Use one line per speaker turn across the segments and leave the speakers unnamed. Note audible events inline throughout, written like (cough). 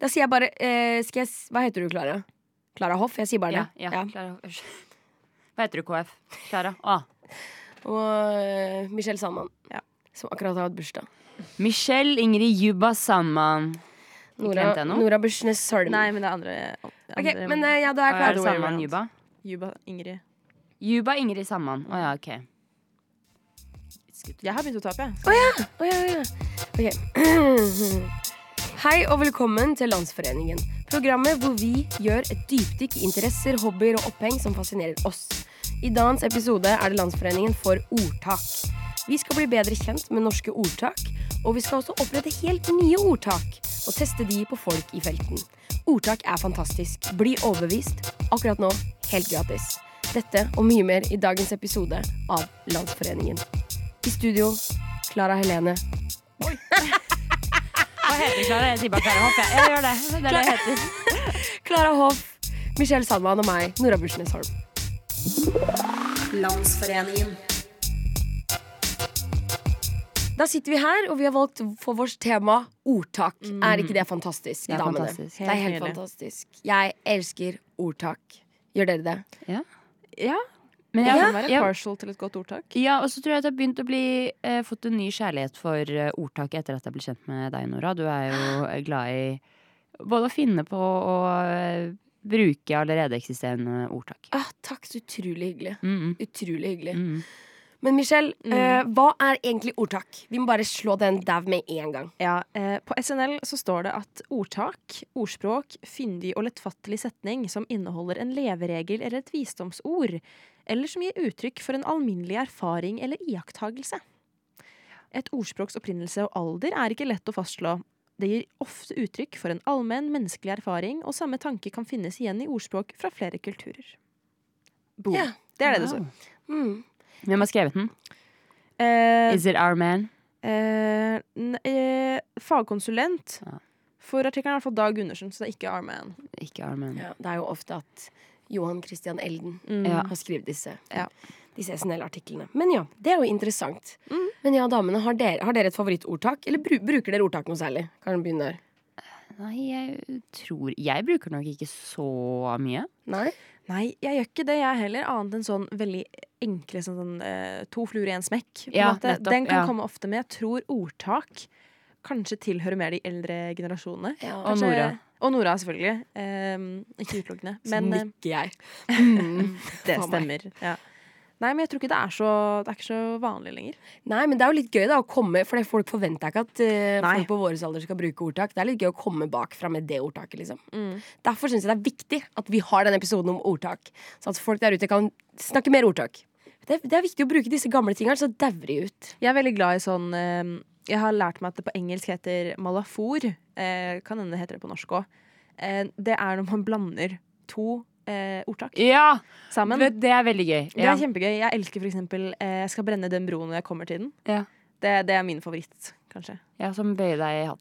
Da sier jeg bare eh, skal jeg, s- Hva heter du, Klara? Klara Hoff? Jeg sier bare
Ja,
det.
ja,
Ja.
Clara. Hva heter du, KF? Klara. Ah.
Og eh, Michelle Sandman,
Ja.
som akkurat har hatt bursdag.
Michelle Ingrid Juba Sandman.
Nora,
Glemte jeg noe?
Nora Bursnes Holm.
Nei, men det er andre, andre
Ok, men eh, ja, da er jeg
Hva
klar.
er
way
Sandman
around.
Juba?
Juba, Ingrid.
Juba Ingrid Sandman. Å ja, OK.
Jeg har begynt å tape, jeg.
Å, ja, ja. Ok. (clears throat) Hei og velkommen til Landsforeningen. Programmet hvor vi gjør et dypdykk i interesser, hobbyer og oppheng som fascinerer oss. I dagens episode er det Landsforeningen for ordtak. Vi skal bli bedre kjent med norske ordtak, og vi skal også opprette helt nye ordtak og teste de på folk i felten. Ordtak er fantastisk. Bli overbevist akkurat nå, helt gratis. Dette og mye mer i dagens episode av Landsforeningen. I studio, Klara Helene.
Hva heter du, Klara? Jeg sier bare Klara Hoff. Jeg. jeg gjør det. Det er det jeg heter.
Klara Hoff, Michelle Sandman og meg, Nora Bursnes Holm.
Landsforeningen.
Da sitter vi her, og vi har valgt for vårt tema ordtak. Er ikke Mm. det fantastisk,
Det er
damene?
fantastisk.
Det er helt
Helt nydelig.
fantastisk. Jeg elsker ordtak. Gjør dere det?
Ja,
Men
jeg
jeg,
kan være
jeg,
partial til et godt ordtak.
Ja, og så tror jeg at jeg har begynt å bli eh, fått en ny kjærlighet for eh, ordtaket etter at jeg ble kjent med deg, Nora. Du er jo eh, glad i både å finne på og eh, bruke allerede eksisterende ordtak.
Ah, takk, så utrolig hyggelig.
Mm,
Utrolig hyggelig.
mm, mm.
Men Michelle, eh, hva er egentlig ordtak? Vi må bare slå den dau med en gang.
Ja, eh, på SNL så står det at ordtak, ordspråk, fyndig og lettfattelig setning som inneholder en leveregel eller et visdomsord, eller som gir uttrykk for en alminnelig erfaring eller iakttagelse. Et ordspråks opprinnelse og alder er ikke lett å fastslå. Det gir ofte uttrykk for en allmenn menneskelig erfaring, og samme tanke kan finnes igjen i ordspråk fra flere kulturer. Boom.
Ja.
Det er det det
Wow.
står.
Mm.
Hvem har skrevet den?
Eh,
Is it our man?
Eh, n- eh, fagkonsulent
Ja.
for artikkelen er i hvert fall Dag Gundersen, så det er ikke Arman.
Ikke our man.
Ja, det er jo ofte at Johan Christian Elden
Mm.
Ja.
har skrevet disse,
Ja.
disse SNL-artiklene. Men ja, det er jo interessant.
Mm.
Men ja, damene, har dere, har dere et favorittordtak? Eller bru, bruker dere ordtak noe særlig? Kan dere begynne der?
Nei, jeg tror Jeg bruker nok ikke så mye.
Nei?
Nei, jeg gjør ikke det, jeg heller, annet enn sånn veldig enkle sånn, sånn, eh, to fluer i en smekk. på en
Ja,
måte.
nettopp,
Den kan
ja.
komme ofte, men jeg tror ordtak kanskje tilhører mer de eldre generasjonene.
Ja,
Og
Kanskje-
Nora.
Og Nora, selvfølgelig. Eh, ikke utelukkende.
så
Men eh,
nikker jeg. Mm. (laughs)
det
for meg.
stemmer. Ja. Nei, men jeg tror ikke det er så, det er ikke så vanlig lenger.
Nei, men det er jo litt gøy da å komme For det- folk forventer ikke at eh,
Nei.
folk på våres alder skal bruke ordtak. Det er litt gøy å komme bakfra med det ordtaket, liksom.
Mm.
Derfor syns jeg det er viktig at vi har denne episoden om ordtak. Så at folk der ute kan snakke mer ordtak. Det, det er viktig å bruke disse gamle tingene, så dauer de ut.
Jeg er veldig glad i sånn eh, Jeg har lært meg at det på engelsk heter malafor. Eh, kan hende det heter det på norsk òg. Eh, det er når man blander to eh, ordtak
Ja!
sammen.
vet, det er veldig gøy.
Det
Ja.
er kjempegøy. Jeg elsker for eksempel eh, 'Jeg skal brenne den broen når jeg kommer til den'.
Ja.
Det, det er min favoritt, kanskje.
ja, som bøye deg i hatten.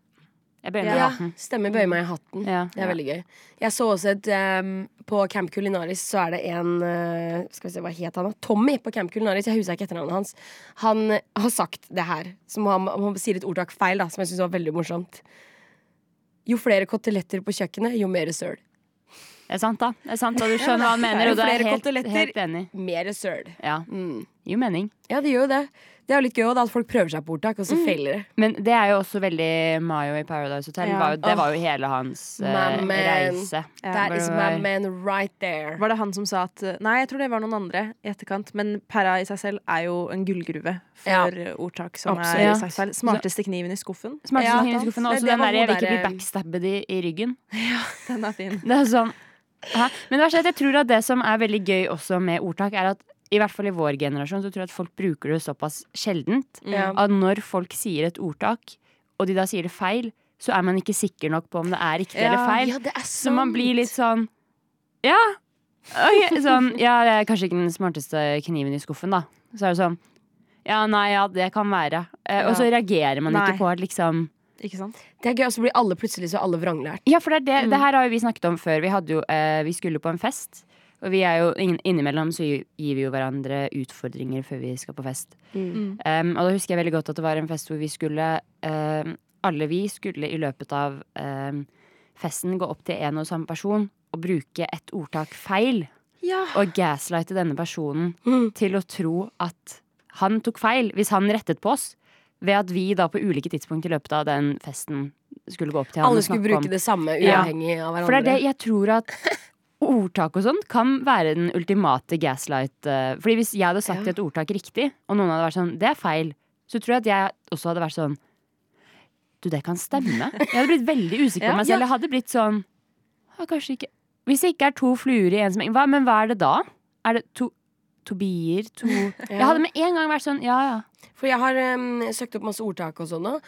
Jeg bøyer meg i
Ja,
hatten.
stemmer bøye meg i hatten.
Ja.
Det er veldig gøy. Jeg så også et ehm, På Camp Culinaris så er det en eh, Skal vi se, hva het han da? Tommy på Camp Culinaris. Jeg husker ikke etternavnet hans. Han har sagt det her, som han, han sier et ordtak feil, da, som jeg syns var veldig morsomt. Jo flere koteletter på kjøkkenet, jo mer søl.
Det er sant, da. Det er sant, og du skjønner hva han
Det er
mener, og du er
flere
helt,
koteletter.
helt enig.
Mer søl.
Ja,
Mm.
gir jo mening.
Ja, det gjør jo det. Det er jo litt gøy også, da, at folk prøver seg på ordtak, og så
Mm.
feiler det.
Men det er jo også veldig Mayo i Paradise Hotel.
Ja.
Var jo, det var jo hele hans eh,
Mammen.
reise.
That
Bare
is
var-
my man right there.
Var det han som sa at eh, Nei, jeg tror det var noen andre i etterkant. Men pæra i seg selv er jo en gullgruve
Ja.
for eh, ordtak som
Absolutt.
er sagt feil. Smarteste kniven i skuffen.
Smakte
Ja,
som himmel i skuffen.
det-
Også
det
den
var
der jeg vil
hun
ikke bli
der, eh,
backstabbet i, i ryggen.
(laughs) Den er fin.
Det er sånn Hæ? Men det verste er sånn at jeg tror at det som er veldig gøy også med ordtak, er at i hvert fall i vår generasjon så tror jeg at folk bruker det såpass sjeldent
Mm.
Ja.
at når folk sier et ordtak, og de da sier det feil, så er man ikke sikker nok på om det er riktig eller
Ja.
feil.
Ja, det er sant.
Så man blir litt sånn Ja! ok, sånn, ja, det er kanskje ikke den smarteste kniven i skuffen, da. Så er det sånn Ja, nei, ja, det kan være. Eh, Og så reagerer man
Nei.
ikke på at liksom
Ikke sant?
Det er gøy, og så blir alle plutselig så alle vranglært.
Ja, for det, er det,
Mm.
det her har jo vi snakket om før. Vi, hadde jo, eh, vi skulle på en fest. Og vi er jo inn, innimellom så gir gir vi jo hverandre utfordringer før vi skal på fest.
Mm.
Um, og da husker jeg veldig eh, godt at det var en fest hvor vi skulle um, Alle vi skulle i løpet av um, festen gå opp til en og samme person og bruke et ordtak feil,
Ja.
og gaslighte denne personen
Mm.
til å tro at han tok feil, hvis han rettet på oss, ved at vi da på ulike tidspunkt i løpet av den festen skulle gå opp til han
Alle
og
skulle
snakke om
bruke det samme,
Ja.
uavhengig av hverandre.
for det er det jeg tror at ordtak og sånn kan være den ultimate gaslight. eh, Fordi hvis jeg hadde sagt
Ja.
et ordtak riktig, og noen hadde vært sånn 'det er feil', så tror jeg at jeg også hadde vært sånn Du, det kan stemme. Jeg hadde blitt veldig usikker på
Ja.
meg selv. Jeg hadde blitt sånn ja, Kanskje ikke Hvis det ikke er to fluer i en smekk, hva- men hva er det da? Er det to Tobier? To
Ja.
Jeg hadde med en gang vært sånn ja ja.
For jeg har em, søkt opp masse ordtak og sånn nå,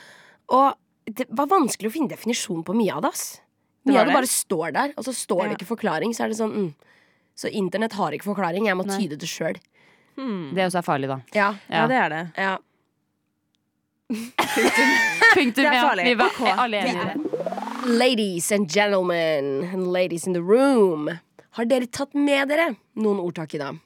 og det var vanskelig å finne definisjon på mye av det, ass.
Det
Mye
var
av det
det?
bare står der, og så står
Ja.
det ikke forklaring, så er det sånn mm. Så internett har ikke forklaring, jeg må
Nei.
tyde det sjøl.
Hmm.
Det også er farlig, da.
Ja.
Ja. det er det.
Ja.
Punktum.
Det er
ja. (laughs)
farlig.
Vi var
Ok.
alle enige i det.
Ladies and gentlemen, and ladies in the room. Har dere tatt med dere noen ordtak i dag?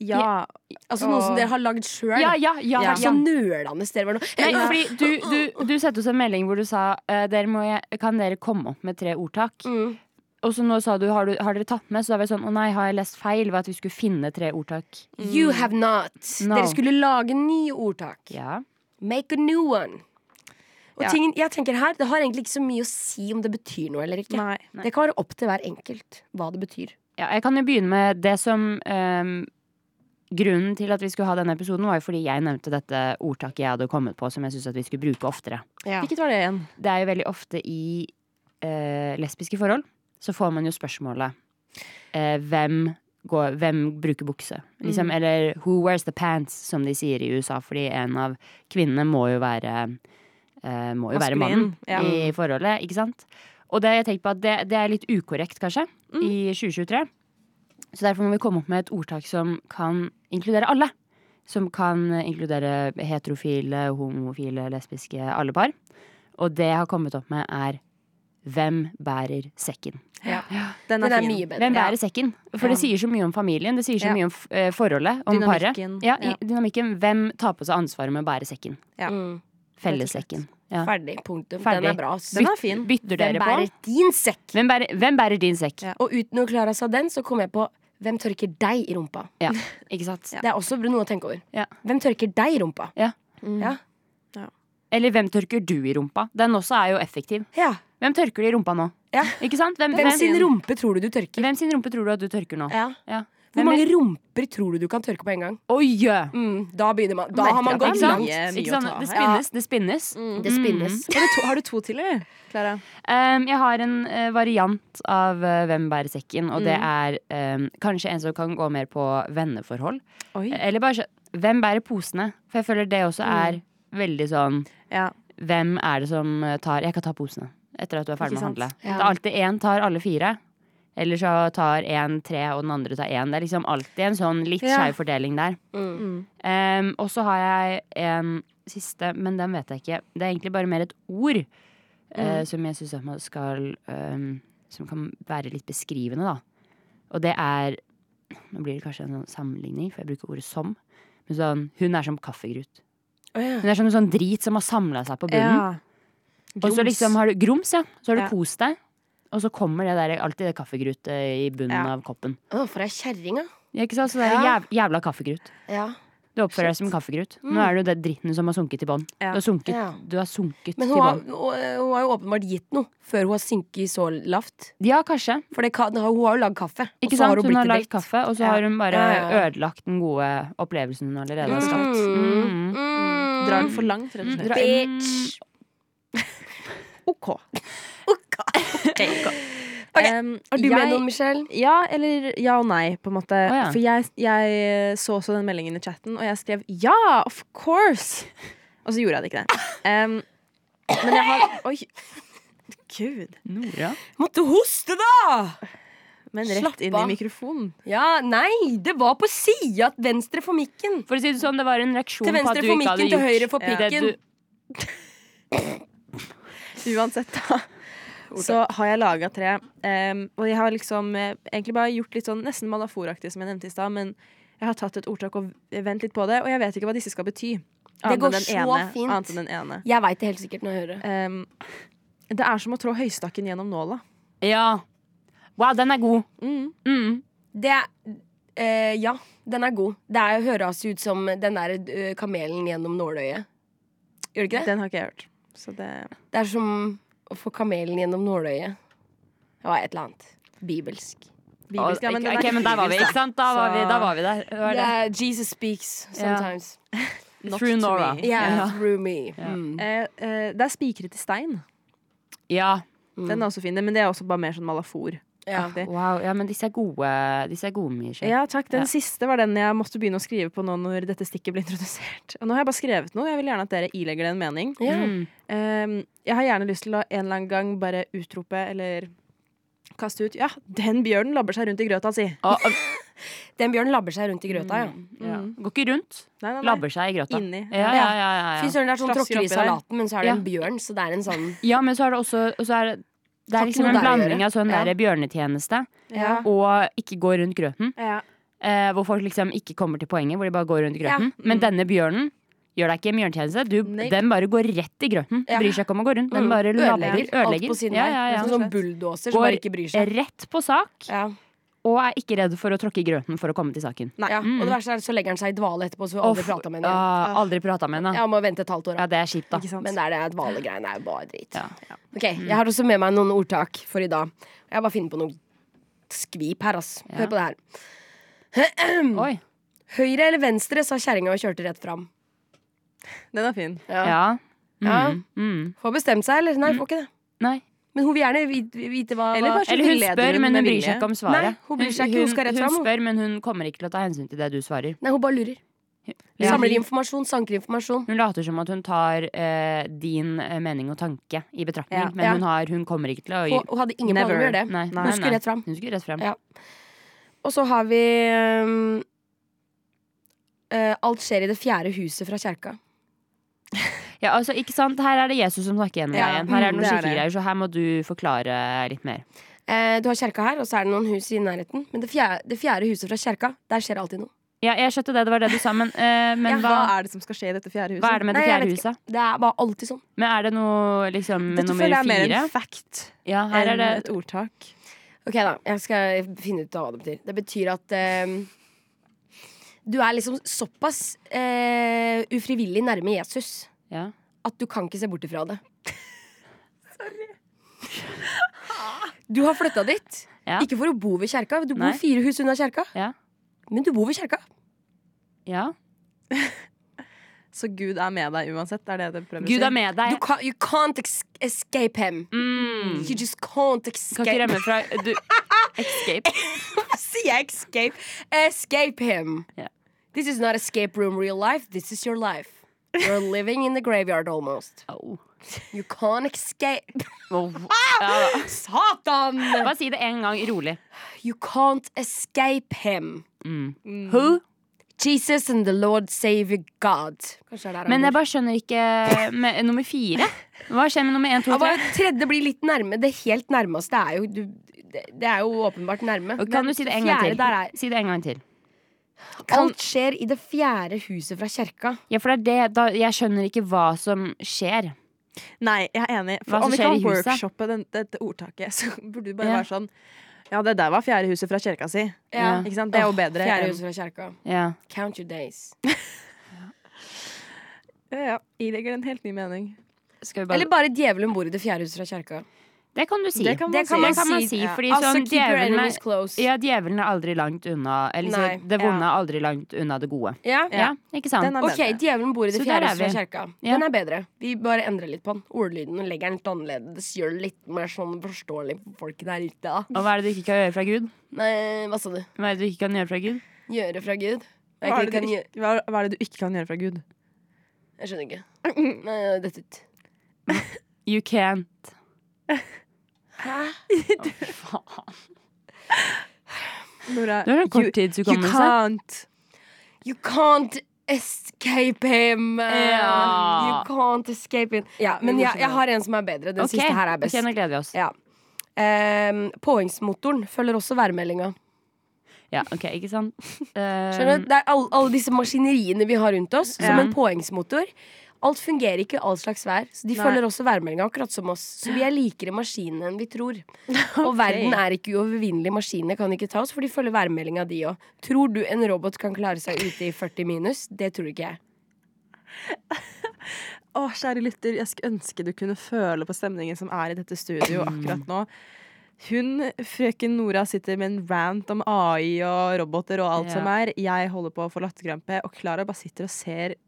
Ja.
Altså noe som
Åh.
dere har lagd sjøl?
Ja, ja, ja,
Hva
ja.
er det så nølende dere var nå?
Nei, fordi du, du, du sette oss en melding hvor du sa eh, dere må, jeg- Kan dere komme opp med tre ordtak?
Mm.
Og så nå sa du har, du har dere tatt med? Så da var jeg sånn Å nei, har jeg lest feil? Ved at vi skulle finne tre ordtak.
You have not.
Mm. No.
Dere skulle lage nye ordtak.
Ja.
Make a new one. Og
Ja.
tingen jeg tenker her, Det har egentlig ikke så mye å si om det betyr noe eller ikke.
Nei.
Det kan være opp til hver enkelt hva det betyr.
ja. Jeg kan jo begynne med det som eh, Grunnen til at vi skulle ha denne episoden, var jo fordi jeg nevnte dette ordtaket jeg hadde kommet på som jeg syntes at vi skulle bruke oftere.
Hvilket var det igjen?
Det er jo veldig ofte i eh, lesbiske forhold så får man jo spørsmålet eh, hvem, går, hvem bruker bukse? Liksom, Eller who wears the pants, som de sier i USA. Fordi en av kvinnene må jo være eh, Må jo være mannen
Maskulin, ja.
i forholdet, ikke sant? Og det har jeg tenkt på at det, det er litt ukorrekt, kanskje,
Mm.
i 2023. Så derfor må vi komme opp med et ordtak som kan inkludere alle. Som kan inkludere heterofile, homofile, lesbiske, alle par. Og det jeg har kommet opp med, er Hvem bærer sekken?
Den er,
Den er
fin.
mye bedre.
Hvem bærer sekken? For det sier så mye om familien, det sier så
Ja.
mye om f- eh, forholdet, om paret.
Dynamikken,
Ja,
ja.
i- dynamikken. Hvem tar på seg ansvaret med å bære sekken?
Ja.
Mm.
Fellessekken. Ja.
Ferdig. Punktum.
Ferdig.
Den er bra. ass.
Den er fin.
Bytter
Hvem
dere på?
bærer din sekk?
Hvem bærer, hvem bærer din sekk?
Ja.
Og uten å klare seg den, så kom jeg på hvem tørker deg i rumpa?
Ja. Ikke sant?
Det er også noe å tenke over.
Ja.
Hvem tørker deg i rumpa? Mm. Ja.
Eller hvem tørker du i rumpa? Den også er jo effektiv.
ja.
Hvem tørker du i rumpa nå?
Ja.
Ikke sant? Hvem,
Hvem sin
hvem,
rumpe tror du du tørker?
hvem sin rumpe tror du at du tørker nå?
Ja.
Ja.
Hvor
Hvem
mange rumper tror du du kan tørke på en gang?
Oi! ja.
Mm, da begynner man. Da
Merker
har man
at det er
gått
Ikke
mye.
langt.
sant?
mye
Ikke
å
sant?
ta
Det
her.
spinnes. Det spinnes.
Det spinnes.
Har, du to, har du to til, eller? Klara?
Um, jeg har en eh, variant av eh, Hvem bærer sekken, og det er um, kanskje en som kan gå mer på venneforhold.
Oi.
Eller bare sånn Hvem bærer posene? For jeg føler det også er veldig sånn
Ja.
Hvem er det som eh, tar Jeg kan ta posene etter at du er ferdig
Ikke
med å
sant?
handle.
Ja.
Det er alltid én tar alle fire. Eller så tar én tre, og den andre tar én. Det er liksom alltid en sånn litt
Ja.
skeiv fordeling der.
Mm.
Mm.
Um, og så har jeg en siste, men den vet jeg ikke. Det er egentlig bare mer et ord
Mm.
eh, som jeg syns man skal um, Som kan være litt beskrivende, da. Og det er Nå blir det kanskje en sånn sammenligning, for jeg bruker ordet som. Men sånn, hun er som kaffegrut.
Å, ja.
Hun er som en sånn drit som har samla seg på bunnen.
Ja.
og så
Grums.
liksom har du grums, ja. Så har du
Ja.
kost deg. Og så kommer det der, alltid det kaffegrutet i bunnen
Ja.
av koppen.
Å, for ei kjerring, da.
Ikke sant? Så det er
Ja.
jæv, jævla kaffegrut.
Ja.
Du oppfører deg som en kaffegrut. Nå er det jo den dritten som har sunket i bånn.
Ja.
Du har sunket,
Mm. Ja.
du har sunket
Men
til
hun har,
bånn.
hun eh, hun har jo åpenbart gitt noe før hun har synket så lavt.
Ja, kanskje.
For det kan, hun har jo lagd kaffe.
Ikke sant?
Og så
Hun har
har hun
lagd
blitt dritt.
kaffe, og så
Ja.
har hun bare
Ja, ja, ja.
ødelagt den gode opplevelsen hun allerede har skapt.
Mm.
Mm.
Mm.
Drar den for langt, rett og
Mm,
slett.
dra-
Bitch.
OK.
(laughs) Ok. Ok.
Em,
Har du
jeg-
med noen, Michelle?
Ja, eller ja og nei, på en måte.
ja.
For jeg, jeg eh, så også den meldingen i chatten, og jeg skrev ja, of course! Og så gjorde jeg det ikke det. Em, men jeg har Oi. Gud.
Nora?
Måtte hoste, da!
Men rett
Slapp
inn i
av.
mikrofonen.
Ja, Nei, det var på sida til venstre for mikken.
For å si det sånn, det var en reaksjon
Til
på at
venstre
du
for
ikke hadde
mikken, til høyre
gjort
for
det
pikken.
du-
Uansett, da. Så har jeg laga tre. Em, og jeg har liksom eh, egentlig bare gjort litt sånn nesten madaforaktig, som jeg nevnte i stad, men jeg har tatt et ordtak og vent litt på det, og jeg vet ikke hva disse skal bety.
går
enn den
så
ene,
fint.
Annet enn den ene.
Jeg veit det helt sikkert når jeg hører det.
Em, Det er som å trå høystakken gjennom nåla.
Ja. Wow, den er god.
Mm.
Mm.
Det er eh, Ja, den er god. Det er, høres ut som den der eh, kamelen gjennom nåløyet. Gjør det ikke det?
Den har ikke jeg hørt. Så det
Det er som å få kamelen gjennom nåløyet. Det var et eller annet. Bibelsk.
bibelsk, ja, men den er
Ok,
ikke
men der var vi,
bibelsk,
ikke sant? Da var vi, da var vi der. Det var
Det
det.
er Jesus speaks sometimes.
not
Through
to
Nora.
me.
Yeah,
Ja.
through me.
Ja.
Mm.
Eh, eh, det er spikret i stein.
Ja.
Den er også fin, men det er også bare mer sånn malafor.
Mm. Ja.
Wow, ja, men disse er gode, disse er gode Michelle.
Ja, takk. Den
Ja.
siste var den jeg måtte begynne å skrive på nå når dette stikket ble (laughs) introdusert. Og nå har jeg bare skrevet noe. Jeg vil gjerne at dere ilegger det en mening.
Ja.
Mm.
Ehm, jeg har gjerne lyst til å en eller annen gang bare utrope eller kaste ut Ja, den bjørnen labber seg rundt i grøta si.
Og, og,
Den bjørnen labber seg rundt i grøta, ja.
ja.
Mm.
Går ikke rundt.
Nei, nei, nei.
Labber seg i grøta.
Inni.
Ja, ja, ja, ja,
Fy
ja.
søren, det er sånn
Slafser
tråkker i
oppi der.
salaten, men så er det
Ja.
en bjørn, så det er en sånn
ja, men så er det også og så er det, det
Har ikke
er liksom
noe
en
der å
blanding
gjøre.
av sånn
Ja.
der bjørnetjeneste
Ja.
og ikke gå rundt grøten.
Ja.
Eh, hvor folk liksom ikke kommer til poenget, hvor de bare går rundt grøten.
Mm.
Men denne bjørnen gjør deg ikke en bjørnetjeneste. Du,
Nei.
den bare går rett i grøten.
Ja.
Bryr seg ikke om å gå rundt. Den
Mm.
bare labber.
Ødelegger alt på sin
Ja,
vei.
ja, ja.
Sånn som bulldoser som
Går
bare ikke bryr seg.
Rett på sak,
Ja.
og er ikke redd for å tråkke i grøten for å komme til saken.
Nei.
Ja. Og det verste er at så legger han seg i dvale etterpå, så vi aldri
Off,
prater med henne igjen.
Mm. Ah. ja, aldri prata med henne.
Jeg må vente et halvt år. da.
Ja, det er kjipt, da.
Ikke sant?
Men det er det at dvalegreiene er jo bare dritt.
Ja.
Ok,
Mm.
Jeg har også med meg noen ordtak for i dag. Jeg bare finner på noe skvip her, ass. Hør
Ja.
på det her. Mm.
Oi.
Høyre eller venstre, sa kjerringa og kjørte rett fram.
Den er fin.
Ja. Mm.
Ja.
Mm.
Får bestemt seg, eller? Nei, får ikke det.
Nei.
Men hun vil gjerne vite, vite hva
Eller
hva-
bare-
Eller hun
Kanskje
spør,
hun
men
med
hun bryr
vilje.
seg ikke om svaret.
Nei, hun bryr seg ikke, hun skal rett fram, hun.
spør, men hun kommer ikke til å ta hensyn til det du svarer.
Nei, hun bare lurer.
Ja.
Samler informasjon, sanker informasjon.
Hun later som at hun tar eh, din eh, mening og tanke i betraktning,
Ja.
men
Ja.
hun, har, hun kommer ikke til å
Hun, hun hadde ingen planer om å gjøre
Never.
det.
Nei, nei,
Hun skulle
nei.
rett fram.
Hun skulle rett frem.
Ja. Og så har vi øhm, øh, Alt skjer i det fjerde huset fra kjerka.
Ja, altså, ikke sant? Her er det Jesus som snakker gjennom deg
Ja,
igjen. Her er det
mm,
noen
det er
skikkelig
det.
greier, så her må du forklare litt mer.
Eh, du har kjerka her, og så er det noen hus i nærheten. Men det fjerde, det fjerde huset fra kjerka, der skjer alltid noe.
Ja, jeg skjønte det, det var det du sa, men, eh, men
Hva
hva,
er det som skal skje i dette fjerde huset?
hva er det med
Nei,
det
jeg
fjerde
vet ikke.
huset?
Det er bare alltid sånn.
Men er det noe liksom
Dette
nummer
føler jeg er mer
fire?
en fact
Ja, her er
enn
det
et ordtak.
Ok, da. Jeg skal finne ut av hva det betyr. Det betyr at øhm, du er liksom såpass øh, ufrivillig nærme Jesus
ja.
at du kan ikke se bort ifra det. (laughs) Du har flytta dit.
Ja.
Ikke for å bo ved kjerka. Du bor
Nei.
fire hus unna kjerka.
Ja.
Men du bor ved kjerka.
ja.
Så Gud er med deg uansett, er det det du prøver
Gud
å
er
si?
med deg.
Du kan, you can't ex escape him.
Mm.
You just can't
Kan ikke
escape
rømme fra du, (laughs) Escape.
(laughs) Sier jeg escape? Escape him.
Ja.
This is not escape room real life. This is your life. You're (laughs) living in the graveyard almost.
Au.
You can't escape. (laughs)
Au. Ja.
Satan!
Bare si det en gang rolig.
You can't escape him.
Mm. Who?
Jesus and the Lord Savior God. Kanskje det er der han
Men
bor.
jeg bare skjønner ikke med, nummer fire. Hva skjer med nummer én, to,
Ja,
tre?
bare (laughs) tredje blir litt nærme. Det helt nærmeste er jo du, det, det er jo åpenbart nærme.
Og Kan du si det en gang
fjerde der
til? Si det en gang til.
er Alt skjer i det fjerde huset fra kjerka.
Ja, for det er det da, Jeg skjønner ikke hva som skjer.
Nei, jeg er enig.
Hva
For
som
om vi
skjer
kan
i huset?
workshoppe den, dette ordtaket, (laughs) så burde du bare
Ja.
være sånn Ja, det der var fjerde huset fra kirka si.
Ja.
Ikke sant? Det er jo
Åh,
bedre.
Fjerde
enn-
huset fra kjerka.
Ja.
Count your days.
Ja, ja. Ilegger en helt ny mening.
Skal vi bare
Eller bare djevelen bor i det fjerde huset fra kjerka.
Det kan du si.
Det kan man
det kan
si.
man, si.
Ja.
Fordi
Altså,
sånn,
keep your
djevelen
enemies
er,
close.
ja, djevelen er aldri langt unna eller, så,
Nei,
Det vonde
ja.
er aldri langt unna det gode.
Ja.
Ja, ikke sant?
Den er
Ok,
bedre.
djevelen bor i det
Så
fjerde
der er
huset fra
vi.
kjerka.
Ja.
Den er bedre. Vi bare endrer litt på den. Ordlyden og legger den litt annerledes. Gjør det litt mer sånn forståelig for folk der ute. da.
Og hva er det du ikke kan gjøre fra Gud?
Nei, hva sa du?
Hva er det du ikke kan gjøre fra Gud?
Gjøre fra Gud? Jeg,
Hva
kan,
er, det
kan,
du,
gjø-
ikke- hva, hva er det du ikke kan gjøre fra Gud?
jeg skjønner ikke. Nei, dette ut.
You can't.
Hæ?
Faen.
Nora,
Du har en
you, you
korttidshukommelse.
can't.
You can't escape him.
Ja.
You can't escape him. Ja, men jeg, jeg har en som er bedre. Den
Ok,
siste her er best.
ok, nå gleder vi oss.
Ja. Ehm, påhengsmotoren følger også værmeldinga.
Ja, ok, ikke
(laughs)
sant?
Skjønner du? Det er all, alle disse maskineriene vi har rundt oss, som
Mm. Ja.
en påhengsmotor. Alt fungerer ikke i all slags vær, så de
Nei.
følger også værmeldinga, akkurat som oss. Så vi er likere maskinene enn vi tror.
(laughs)
Og verden er ikke uovervinnelig. Maskinene kan ikke ta oss, for de følger værmeldinga, de òg. Tror du en robot kan klare seg ute i 40 minus? Det tror ikke jeg.
(laughs) Å, kjære lytter, jeg skulle ønske du kunne føle på stemningen som er i dette studio akkurat nå. Hun, frøken Nora, sitter med en rant om AI og roboter og alt
Ja.
som er. Jeg holder på å få latterkrampe, og Klara bare sitter og ser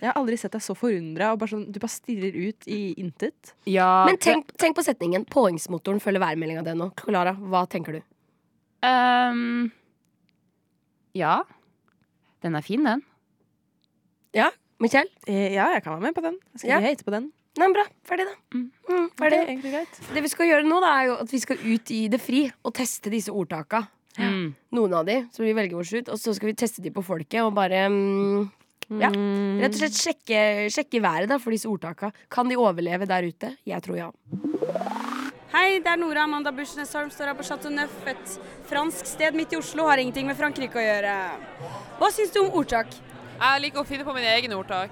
Jeg har aldri sett deg så forundra, og bare sånn, du bare stirrer ut i intet.
Ja,
Men tenk, tenk på setningen. Påhengsmotoren følger værmeldinga den nå. Klara, hva tenker du?
ehm, Ja. Den er fin, den.
Ja? Michael?
Eh, ja, jeg kan være med på den. Jeg skal
Ja.
ikke hate på den.
Nei, men bra. Ferdig, da.
Mm.
Mm,
Det
ferdig.
er egentlig greit.
Det vi skal gjøre nå, da, er jo at vi skal ut i det fri og teste disse ordtaka.
Mm.
Noen av de, så vi velger oss ut. Og så skal vi teste de på folket og bare mm, Ja,
Mm.
Rett og slett sjekke, sjekke været da, for disse ordtaka. Kan de overleve der ute? Jeg tror ja.
Hei, det er Nora Amanda Bushnesholm, står her på Chateau Neuf, et fransk sted midt i Oslo, har ingenting med Frankrike å gjøre. Hva syns du om ordtak?
Jeg liker å finne på mine egne ordtak.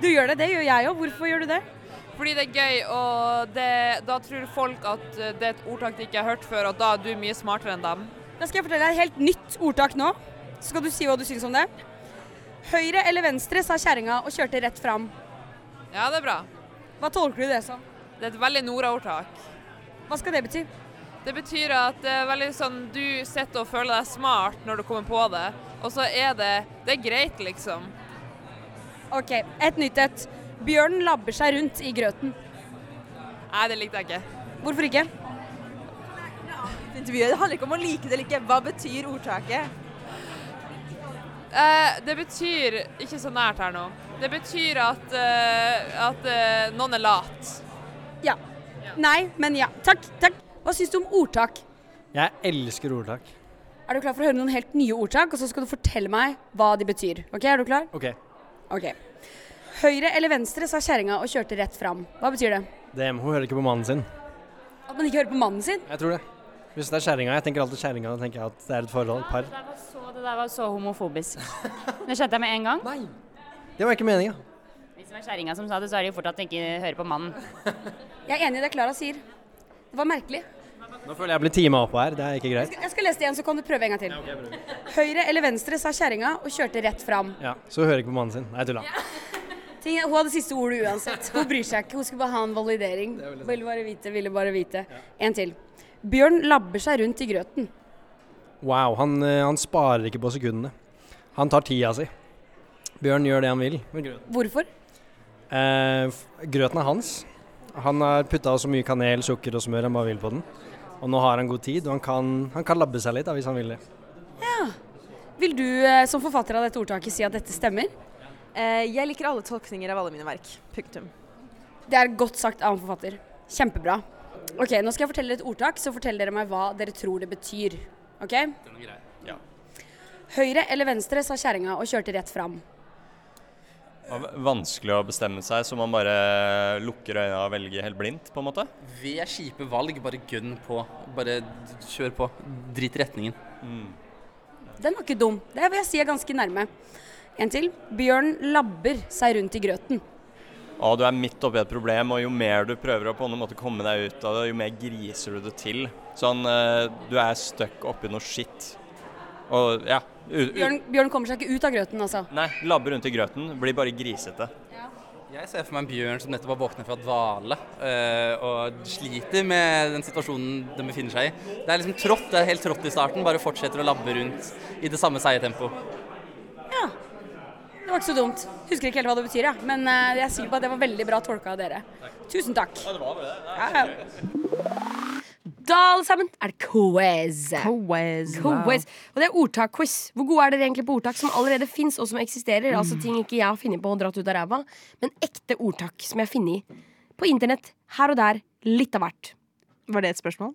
Du gjør det, det gjør jeg òg. Hvorfor gjør du det?
Fordi det er gøy, og det, da tror folk at eh, det er et ordtak de ikke har hørt før, og da er du mye smartere enn dem.
Da skal jeg fortelle deg et helt nytt ordtak nå, så skal du si hva du syns om det. Høyre eller venstre, sa kjerringa og kjørte rett fram.
Ja, det er bra.
Hva tolker du det som?
Det er et veldig Nora-ordtak.
Hva skal det bety?
Det betyr at det er veldig sånn du sitter og føler deg smart når du kommer på det, og så er det Det er greit, liksom.
OK, et nytt et. Bjørnen labber seg rundt i grøten.
Nei, det likte jeg ikke.
Hvorfor ikke?
intervjuet. Det handler ikke om å like det eller ikke. Hva betyr ordtaket?
Eh, det betyr Ikke så nært her nå. Det betyr at, eh, at eh, noen er lat.
Ja. Nei, men ja. Takk, takk. Hva syns du om ordtak?
Jeg elsker ordtak.
Er du klar for å høre noen helt nye ordtak, og så skal du fortelle meg hva de betyr? Ok, er du klar?
Ok,
Ok. Høyre eller venstre, sa kjerringa og kjørte rett fram. Hva betyr det?
DM, hun hører ikke på mannen sin.
At man ikke hører på mannen sin?
Jeg tror det. Hvis det er kjerringa, jeg tenker alltid kjerringa, da tenker jeg at det er et forhold, et par.
Det der var så, det der var så homofobisk. Det skjønte jeg med en gang.
Nei! Det var ikke meninga.
Hvis det var kjerringa som sa det, så er det jo fortsatt ikke hører på mannen.
Jeg er enig i det Klara sier. Det var merkelig.
Nå føler jeg blir tima oppå her, det er ikke greit.
Jeg skal lese det igjen, så kan du prøve en gang til. Høyre eller venstre, sa kjerringa og kjørte rett fram.
Ja, Så hun hører ikke på mannen sin. Nei, tulla.
Ting er- Hun hadde siste ordet uansett. Hun bryr seg ikke. Hun skulle bare ha en validering. Ville bare vite, ville bare vite. En til. Bjørn labber seg rundt i grøten.
Wow, han, eh, han sparer ikke på sekundene. Han tar tida si. Bjørn gjør det han vil. med grøten.
Hvorfor?
Eh, f- grøten er hans. Han har putta så mye kanel, sukker og smør han bare vil på den. Og nå har han god tid, og han kan, han kan labbe seg litt da, hvis han vil det.
Vil du eh, som forfatter av dette ordtaket si at dette stemmer?
Eh, jeg liker alle tolkninger av alle mine verk. Punktum.
Det er godt sagt av en forfatter. Kjempebra. Ok, Nå skal jeg fortelle et ordtak, så forteller dere meg hva dere tror det betyr. Ok? Høyre eller venstre, sa kjerringa og kjørte rett fram.
Det var vanskelig å bestemme seg, så man bare lukker øynene og velger helt blindt, på en måte.
Ved kjipe valg, bare gønn på. Bare d- kjør på. Drit i retningen.
Den var ikke dum. Det vil jeg si er ganske nærme. En til. Bjørn labber seg rundt i grøten.
Og du er midt oppi et problem, og jo mer du prøver å på en måte komme deg ut av det, jo mer griser du det til. Sånn, eh, du er stuck oppi noe skitt. Og ja u- u-
Bjørn, Bjørn kommer seg ikke ut av grøten, altså.
Nei, labber rundt i grøten. Blir bare grisete.
Jeg ser for meg en bjørn som nettopp har våknet fra dvale eh, og sliter med den situasjonen den befinner seg i. Det er liksom trått, det er helt trått i starten, bare fortsetter å labbe rundt i det samme seige tempoet.
Det var ikke så dumt. Husker ikke helt hva det betyr, jeg. Men eh, jeg er sikker på at det var veldig bra tolka av dere. Tusen takk. Ja, ja.
Da, alle sammen, er det quiz. Quiz. Og det er ordtak-quiz. Hvor gode er dere egentlig på ordtak som allerede fins, og som eksisterer?
Mm.
Altså ting ikke jeg har funnet på og dratt ut av ræva, men ekte ordtak som jeg har funnet i på internett, her og der, litt av hvert.
Var det et spørsmål?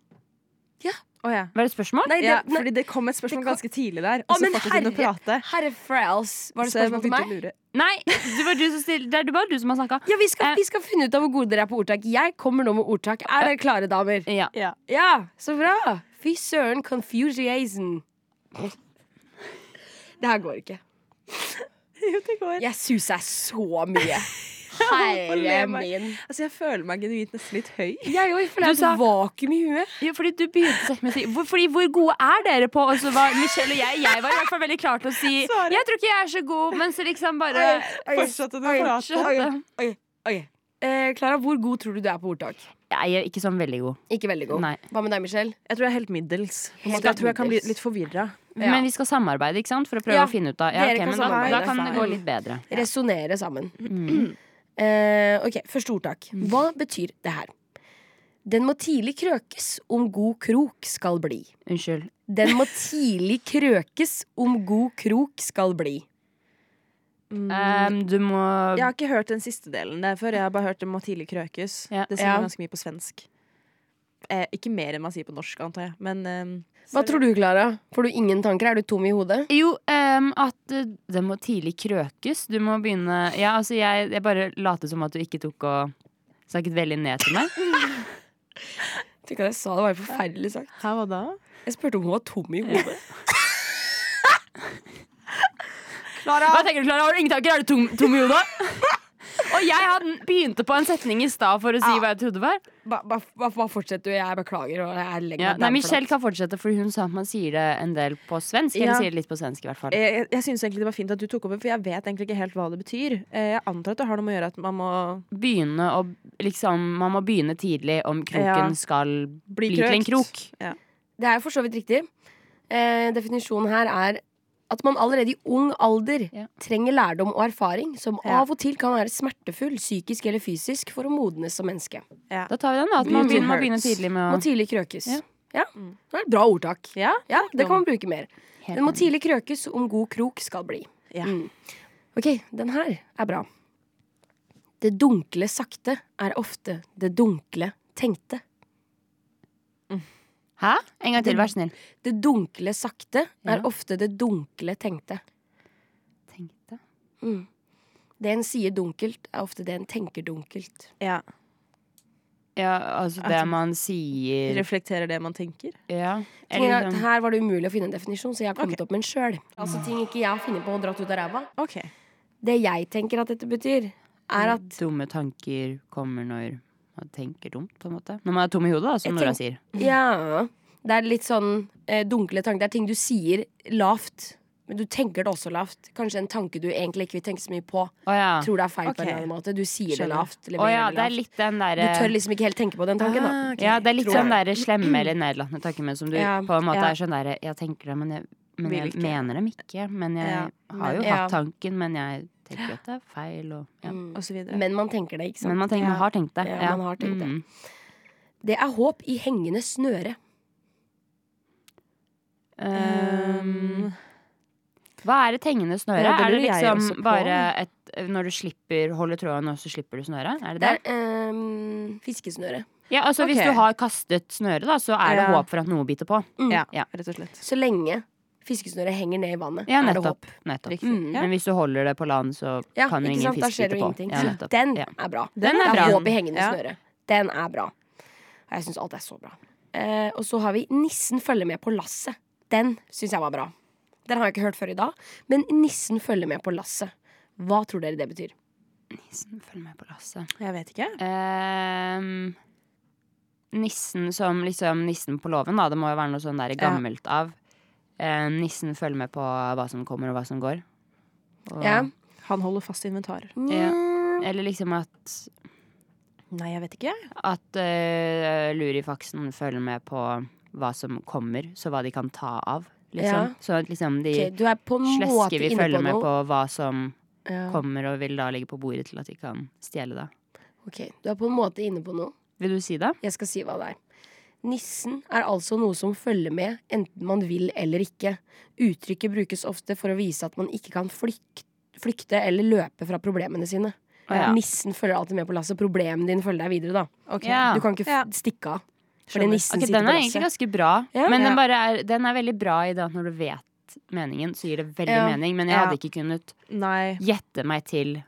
Ja.
Å ja.
Var det et spørsmål?
Nei, det,
ja.
nei.
Fordi det kom et spørsmål
Det kom-
ganske tidlig der,
Å,
og så
men
fortsatte hun å
herre-
prate.
Herre Frels, var det
Så jeg
spørsmål til
begynte å
(laughs)
meg?
lure.
Nei, det var du som stilte. Det er du bare du som har snakka.
Ja, vi skal,
Eh.
vi skal finne ut av hvor gode dere er på ordtak. Jeg kommer nå med ordtak. Er dere klare, damer?
Ja.
Ja, så bra! Fy søren, confusion. Det her går ikke.
Jo, det går.
Jeg suser så mye. Herre
le meg.
min.
Altså, jeg føler meg genuint nesten litt høy.
Jeg òg, for det
Du
er
sa-
et vakuum i huet.
Ja, fordi du begynte å si- med å si hvor, fordi, hvor gode er dere på Og så var Michelle og jeg Jeg var i hvert fall veldig klar til å si
Svaret.
Jeg tror ikke jeg er så god Men så liksom bare
Fortsatte du å prate?
skjønte
Eh, Klara, hvor god tror du du er på ordtak?
Jeg er ikke sånn veldig god
Ikke veldig god.
Nei.
Hva med deg, Michelle?
Jeg tror jeg er helt middels. på en
Helt
måte. Jeg tror jeg kan bli
middels.
litt forvirra.
Ja.
Men vi skal samarbeide, ikke sant? For å prøve
Ja,
å finne ut av ja,
dere
ok,
kan
men da,
samarbeide.
da kan det gå litt bedre
Resonnere sammen.
mm.
Eh, ok, Første ordtak. Hva betyr det her? Den må tidlig krøkes om god krok skal bli.
Unnskyld
Den må tidlig krøkes om god krok skal bli. Eh,
um, Du må
Mm. Jeg har ikke hørt den siste delen der før. Jeg har bare hørt det må tidlig krøkes.
Ja.
Det sier
Ja.
man ganske mye på svensk. Eh, ikke mer enn man sier på norsk, antar jeg. Men eh,
Hva tror du, Klara? Får du ingen tanker? Er du tom i hodet?
Jo, ehm, at eh, det må tidlig krøkes. Du må begynne Ja, altså, jeg, jeg bare later som at du ikke tok og snakket veldig ned til meg.
Tenk at jeg sa det var forferdelig sagt.
her hva da?
Jeg spurte om hun var tom i hodet.
Hva tenker du, Klara? Har du ingen tanker? Er du tom, tom i hodet? (laughs) og jeg hadde, begynte på en setning i stad for å si hva jeg trodde var.
Bare ba, ba, ba fortsett, du. Jeg beklager. Og jeg legger
Ja,
meg down
nei,
for
Michelle
det.
kan fortsette, for hun sa at man sier det en del på svensk.
Ja.
Eller sier det litt på svensk, i hvert fall.
Jeg, Eh, jeg, jeg syns egentlig det var fint at du tok opp det, for jeg vet egentlig ikke helt hva det betyr. Eh, jeg antar at det har noe med å gjøre at man må
Begynne å liksom Man må begynne tidlig om
Ja.
kroken skal bli,
bli,
til en
krøkt.
krok.
Det er jo for så vidt riktig. Eh, definisjonen her er at man allerede i ung alder
Ja.
trenger lærdom og erfaring som
Ja.
av og til kan være smertefull, psykisk eller fysisk, for å modnes som menneske.
Da tar vi den, da. At man
Beauty
begynner, må begynne
hurts.
tidlig
Må
med å
tidlig krøkes.
Ja.
Ja. Det er et bra ordtak.
Ja.
Mm. Ja, Det kan man bruke mer. Den må tidlig krøkes om god krok skal bli.
Ja.
Mm. Ok, den her er bra. Det dunkle sakte er ofte det dunkle tenkte.
Hæ? En gang til, vær snill.
Det dunkle sakte
Ja.
er ofte det dunkle tenkte.
Tenkte.
Mm. Det en sier dunkelt, er ofte det en tenker dunkelt.
Ja.
Ja, altså det man sier
Reflekterer det man tenker.
Ja.
Tingen
Eller
er at
sånn
her var det umulig å finne en definisjon, så jeg har kommet opp med en sjøl. Altså ting ikke jeg har funnet på og dratt ut av ræva.
Ok.
Det jeg tenker at dette betyr, er at
dumme tanker kommer når man tenker dumt, på en måte. Når man er tom i hodet, da, som
Jeg
Nora
tenk-
sier.
Ja. Det er litt sånn eh, dunkle tanker. Det er ting du sier lavt, men du tenker det også lavt. Kanskje en tanke du egentlig ikke vil tenke så mye på.
Å ja.
Tror det er feil
Ok.
på en eller annen måte. Du sier det
Skjønner.
lavt. Eller
Å ja,
mener det
det er
lavt.
litt den derre
Du tør liksom ikke helt tenke på den tanken, da.
Ja, det er litt
Tror jeg.
sånn derre slemme eller nedlatende tanker, men som du
Ja,
på en måte
ja.
er sånn derre Jeg tenker det, men jeg, men
Vil
jeg
ikke.
mener dem ikke. Men jeg
Ja,
har jo
men- ja.
hatt tanken, men jeg tenker at det er feil, og ja.
Mm.
Og så videre.
Men man tenker det, ikke sant.
Men man, tenker, man har tenkt det.
Ja, man har tenkt det.
Mm.
Det er håp i hengende snøre.
mm,
Ehm,
Um, Hva er et hengende snøre?
Ja, det
er det
lurer jeg også
liksom
på.
bare et Når du slipper holder tråden, og så slipper du snøret? Er
Det
det det?
er ehm, fiskesnøre.
Ja, altså
Ok.
Hvis du har kastet snøret, da, så er det
Ja.
håp for at noe biter på.
ja,
ja.
rett og slett.
Så lenge fiskesnøret henger ned i vannet,
Ja,
er det håp.
nettopp. nettopp.
Riktig.
Mm.
Ja.
Men hvis du holder det på land, så
Ja,
kan jo
ikke
ingen
sant? Da
fisk
skjer det
bite
jo
på.
ingenting.
Ja, nettopp.
Den
Ja.
er bra. Det
Den er
er
bra.
håp i hengende
Ja.
snøre. Den er bra. Og jeg syns alt er så bra. Eh, og så har vi Nissen følger med på lasset. Den syns jeg var bra. Den har jeg ikke hørt før i dag. Men Nissen følger med på lasset. Hva tror dere det betyr?
Nissen følger med på lasset.
Jeg vet ikke.
Ehm, nissen som liksom Nissen på låven, da. Det må jo være noe sånn der gammelt av. Eh, nissen følger med på hva som kommer, og hva som går. Og,
Ja.
Han holder fast inventarer.
Ja. Eller liksom at
Nei, jeg vet ikke.
At eh, lurifaksen følger med på hva som kommer, så hva de kan ta av.
Ja.
Liksom. Så at liksom de
Ok, du er på en måte
slesker vi
inne
følger
på
med
noe.
på hva som
Ja.
kommer, og vil da ligge på bordet til at de kan stjele det.
Ok, Du er på en måte inne på noe.
Vil du si det?
Jeg skal si hva det er. Nissen er altså noe som følger med, enten man vil eller ikke. Uttrykket brukes ofte for å vise at man ikke kan flyk- flykte eller løpe fra problemene sine.
Å ja.
Nissen følger alltid med på lasset. Problemet din følger deg videre, da.
Ok.
Ja.
Du kan ikke
Ja.
f stikke av. Fordi
Skjønner.
nissen
Ok,
sitter
den
på
er egentlig
lasset.
ganske bra,
Ja.
men
Ja.
den, bare er, den er veldig bra i det at når du vet meningen, så gir det veldig
Ja.
mening. Men jeg
Ja.
hadde ikke kunnet
Nei.
gjette meg til
Nei,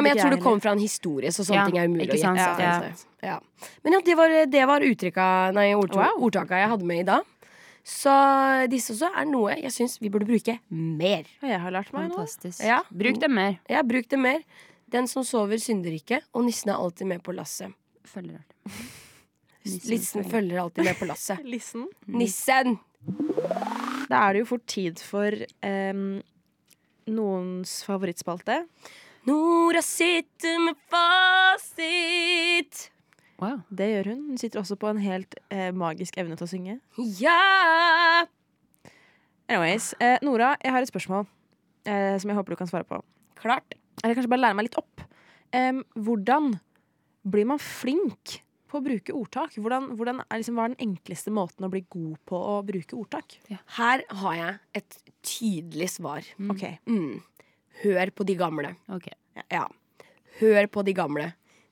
men
ikke
jeg
jeg
tror det kommer fra en historie, så sånne
Ja,
ting er umulig å
ikke sant?
gjette. seg
Ja.
til. Ja. Men ja, det var, det var uttrykka, nei, ordto- ordtaka jeg hadde med i dag. Så disse også er noe jeg syns vi burde bruke mer.
Jeg har lært meg noe.
fantastisk.
Ja.
Bruk det mer.
Ja, bruk det mer. Den som sover, synder ikke, og nissen er alltid med på lasset.
Følger (laughs) alt.
Nissen Mm. følger alltid med på (laughs) lasset.
Lissen.
Nissen!
Da er det jo fort tid for em, noens favorittspalte.
Nora sitter med fasit.
Wow.
Det gjør hun. Hun sitter også på en helt eh, magisk evne til å synge.
Ja!
Anyways, eh, Nora, jeg har et spørsmål eh, som jeg håper du kan svare på.
Klart.
Eller kanskje bare lære meg litt opp. Em, hvordan blir man flink på å bruke ordtak? Hvordan, hvordan er liksom, hva er den enkleste måten å bli god på å bruke ordtak?
Her har jeg et tydelig svar.
Ok,
Mm. Hør på de gamle.
Ok.
Ja. Hør på de gamle.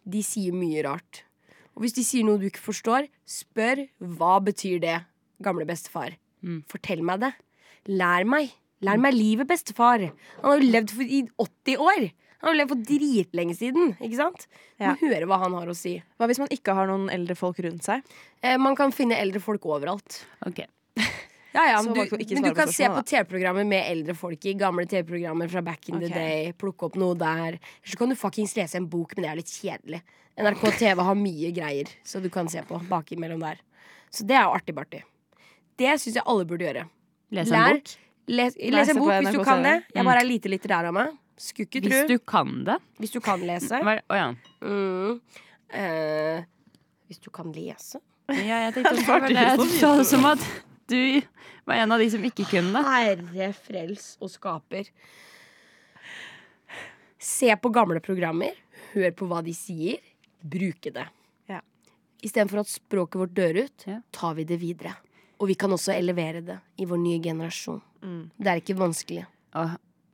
De sier mye rart. Og hvis de sier noe du ikke forstår, spør hva betyr det, gamle bestefar.
Mm.
Fortell meg det. Lær meg. Lær meg livet, bestefar. Han har jo levd for, i 80 år. Han har jo levd for dritlenge siden. Ikke sant? Du
Ja.
må høre hva han har å si.
Hva hvis man ikke har noen eldre folk rundt seg?
Eh, man kan finne eldre folk overalt.
Ok.
Ja, ja,
Så
men
valgte
du,
hun å ikke
men du
svare på
kan se på
spørsmålet,
TV-programmer med eldre folk i gamle TV-programmer fra back in
Ok.
the day. Plukke opp noe der. Eller Så kan du fuckings lese en bok, men det er litt kjedelig. NRK TV har mye greier, så du kan se på bakimellom der. Så det er jo artig-bartig. Det syns jeg alle burde gjøre.
Les en bok.
Les,
Les
les
det
en
på
bok hvis
NRK Mm.
du kan
TV.
det. Jeg bare er lite litterær av meg. Skulle ikke
Hvis
tru.
du kan det.
Hvis du kan lese.
Hva er- Å ja.
Mm. Eh, hvis du kan lese.
ja. Jeg (laughs) tenkte også på det. Du sa det som at du var en av de som ikke kunne det.
Herre frels og skaper. Se på gamle programmer, hør på hva de sier, bruke det.
Ja.
Istedenfor at språket vårt dør ut,
Ja.
tar vi det videre. Og vi kan også elevere det i vår nye generasjon.
Mm.
Det er ikke vanskelig.
Å,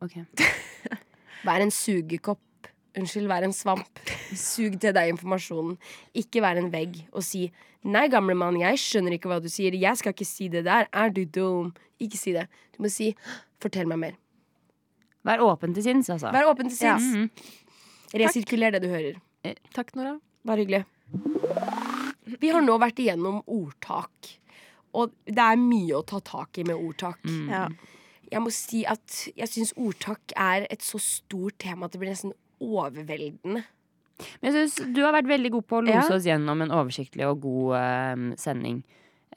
ok.
Vær en sugekopp. Unnskyld, vær en svamp. Sug til deg informasjonen. Ikke vær en vegg og si 'Nei, gamle mann, jeg skjønner ikke hva du sier. Jeg skal ikke si det der. Er du dum?' Ikke si det. Du må si 'Fortell meg mer'.
Vær åpen til sinns, altså.
Vær åpen til sinns.
Mhm.
Resirkuler det du hører.
Eh, Takk, Nora.
Bare hyggelig. Vi har nå vært igjennom ordtak. Og det er mye å ta tak i med ordtak.
Mhm.
Ja.
Jeg må si at jeg syns ordtak er et så stort tema at det blir nesten overveldende.
Men jeg synes du har vært veldig god på å lose
Ja.
oss gjennom en oversiktlig og god eh, sending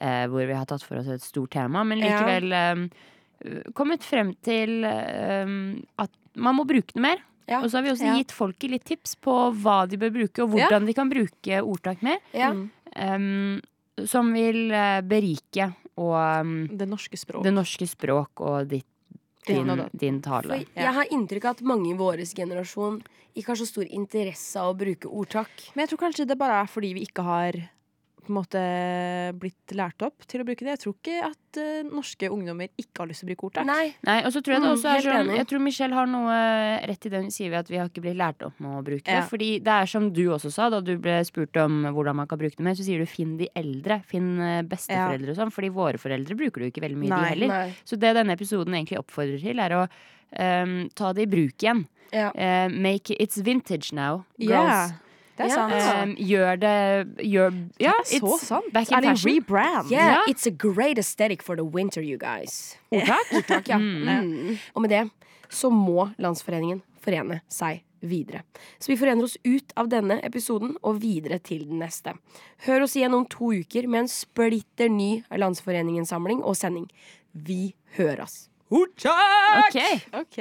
eh, hvor vi har tatt for oss et stort tema, men
Ja.
likevel eh, kommet frem til eh, at man må bruke det mer.
Ja.
Og så har vi også
Ja.
gitt folket litt tips på hva de bør bruke, og hvordan de kan bruke ordtak mer.
Ja.
Mm.
eh, som vil eh, berike og eh,
Det norske språk.
det norske språk og ditt,
Ja,
din,
da, da.
din tale.
For jeg har inntrykk av at mange i vår generasjon ikke har så stor interesse av å bruke ordtak.
Men jeg tror kanskje det bare er fordi vi ikke har på en måte blitt lært opp til å bruke det. Jeg tror ikke at eh, norske ungdommer ikke har lyst til å bruke ordtak.
Nei,
Nei, og så tror jeg det
Mm,
også er
helt
sånn
enig.
Jeg tror Michelle har noe eh, rett i det hun sier ved at vi har ikke blitt lært opp med å bruke det.
Ja.
Fordi det er som du også sa da du ble spurt om hvordan man kan bruke det mer, så sier du finn de eldre. Finn eh, besteforeldre og sånn. Fordi våre foreldre bruker det jo ikke veldig mye,
Nei,
de heller.
nei.
Så det denne episoden egentlig oppfordrer til, er å eh, ta det i bruk igjen.
Ja.
Eh, make it's vintage now,
Ja,
girls.
det er
Ja.
sant.
Eh, gjør det Gjør Ja,
det er så
it's
sant.
back in
er det
fashion.
rebrand?
Yeah,
Ja.
It's a great aesthetic for the winter, you guys.
Ordtak?
Ordtak, ja. (laughs) Mm. Og med det så må Landsforeningen forene seg videre. Så vi forener oss ut av denne episoden og videre til den neste. Hør oss igjen om to uker med en splitter ny Landsforeningen-samling og sending. Vi høres.
Ok.
Ok.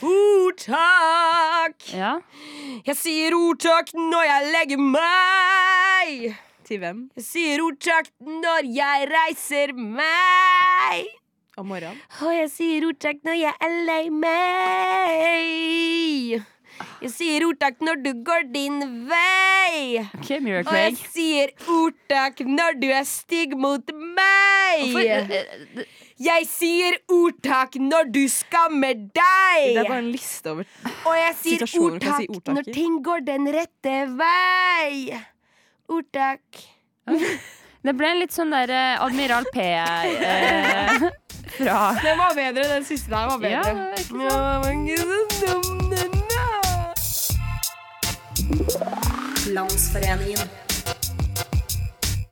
Ordtak!
Ja.
Jeg sier ordtak når jeg legger meg.
Til hvem?
Jeg sier ordtak når jeg reiser meg.
Om morgenen?
Og jeg sier ordtak når jeg er lei meg. Jeg sier ordtak når du går din vei.
OK, Mira
Og jeg
Craig.
sier ordtak når du er stygg mot
eh,
meg.
eh,
Jeg sier ordtak når du skammer
Det er
deg.
bare en liste over
Og jeg sier
situasjoner kan si ordtak i.
ordtak når ting går den rette vei. Ordtak.
Det ble en litt sånn der eh, Admiral P eh, fra
Den var bedre, den siste der var
Ja,
bedre. Ja, men ikke så dum den da.
Landsforeningen.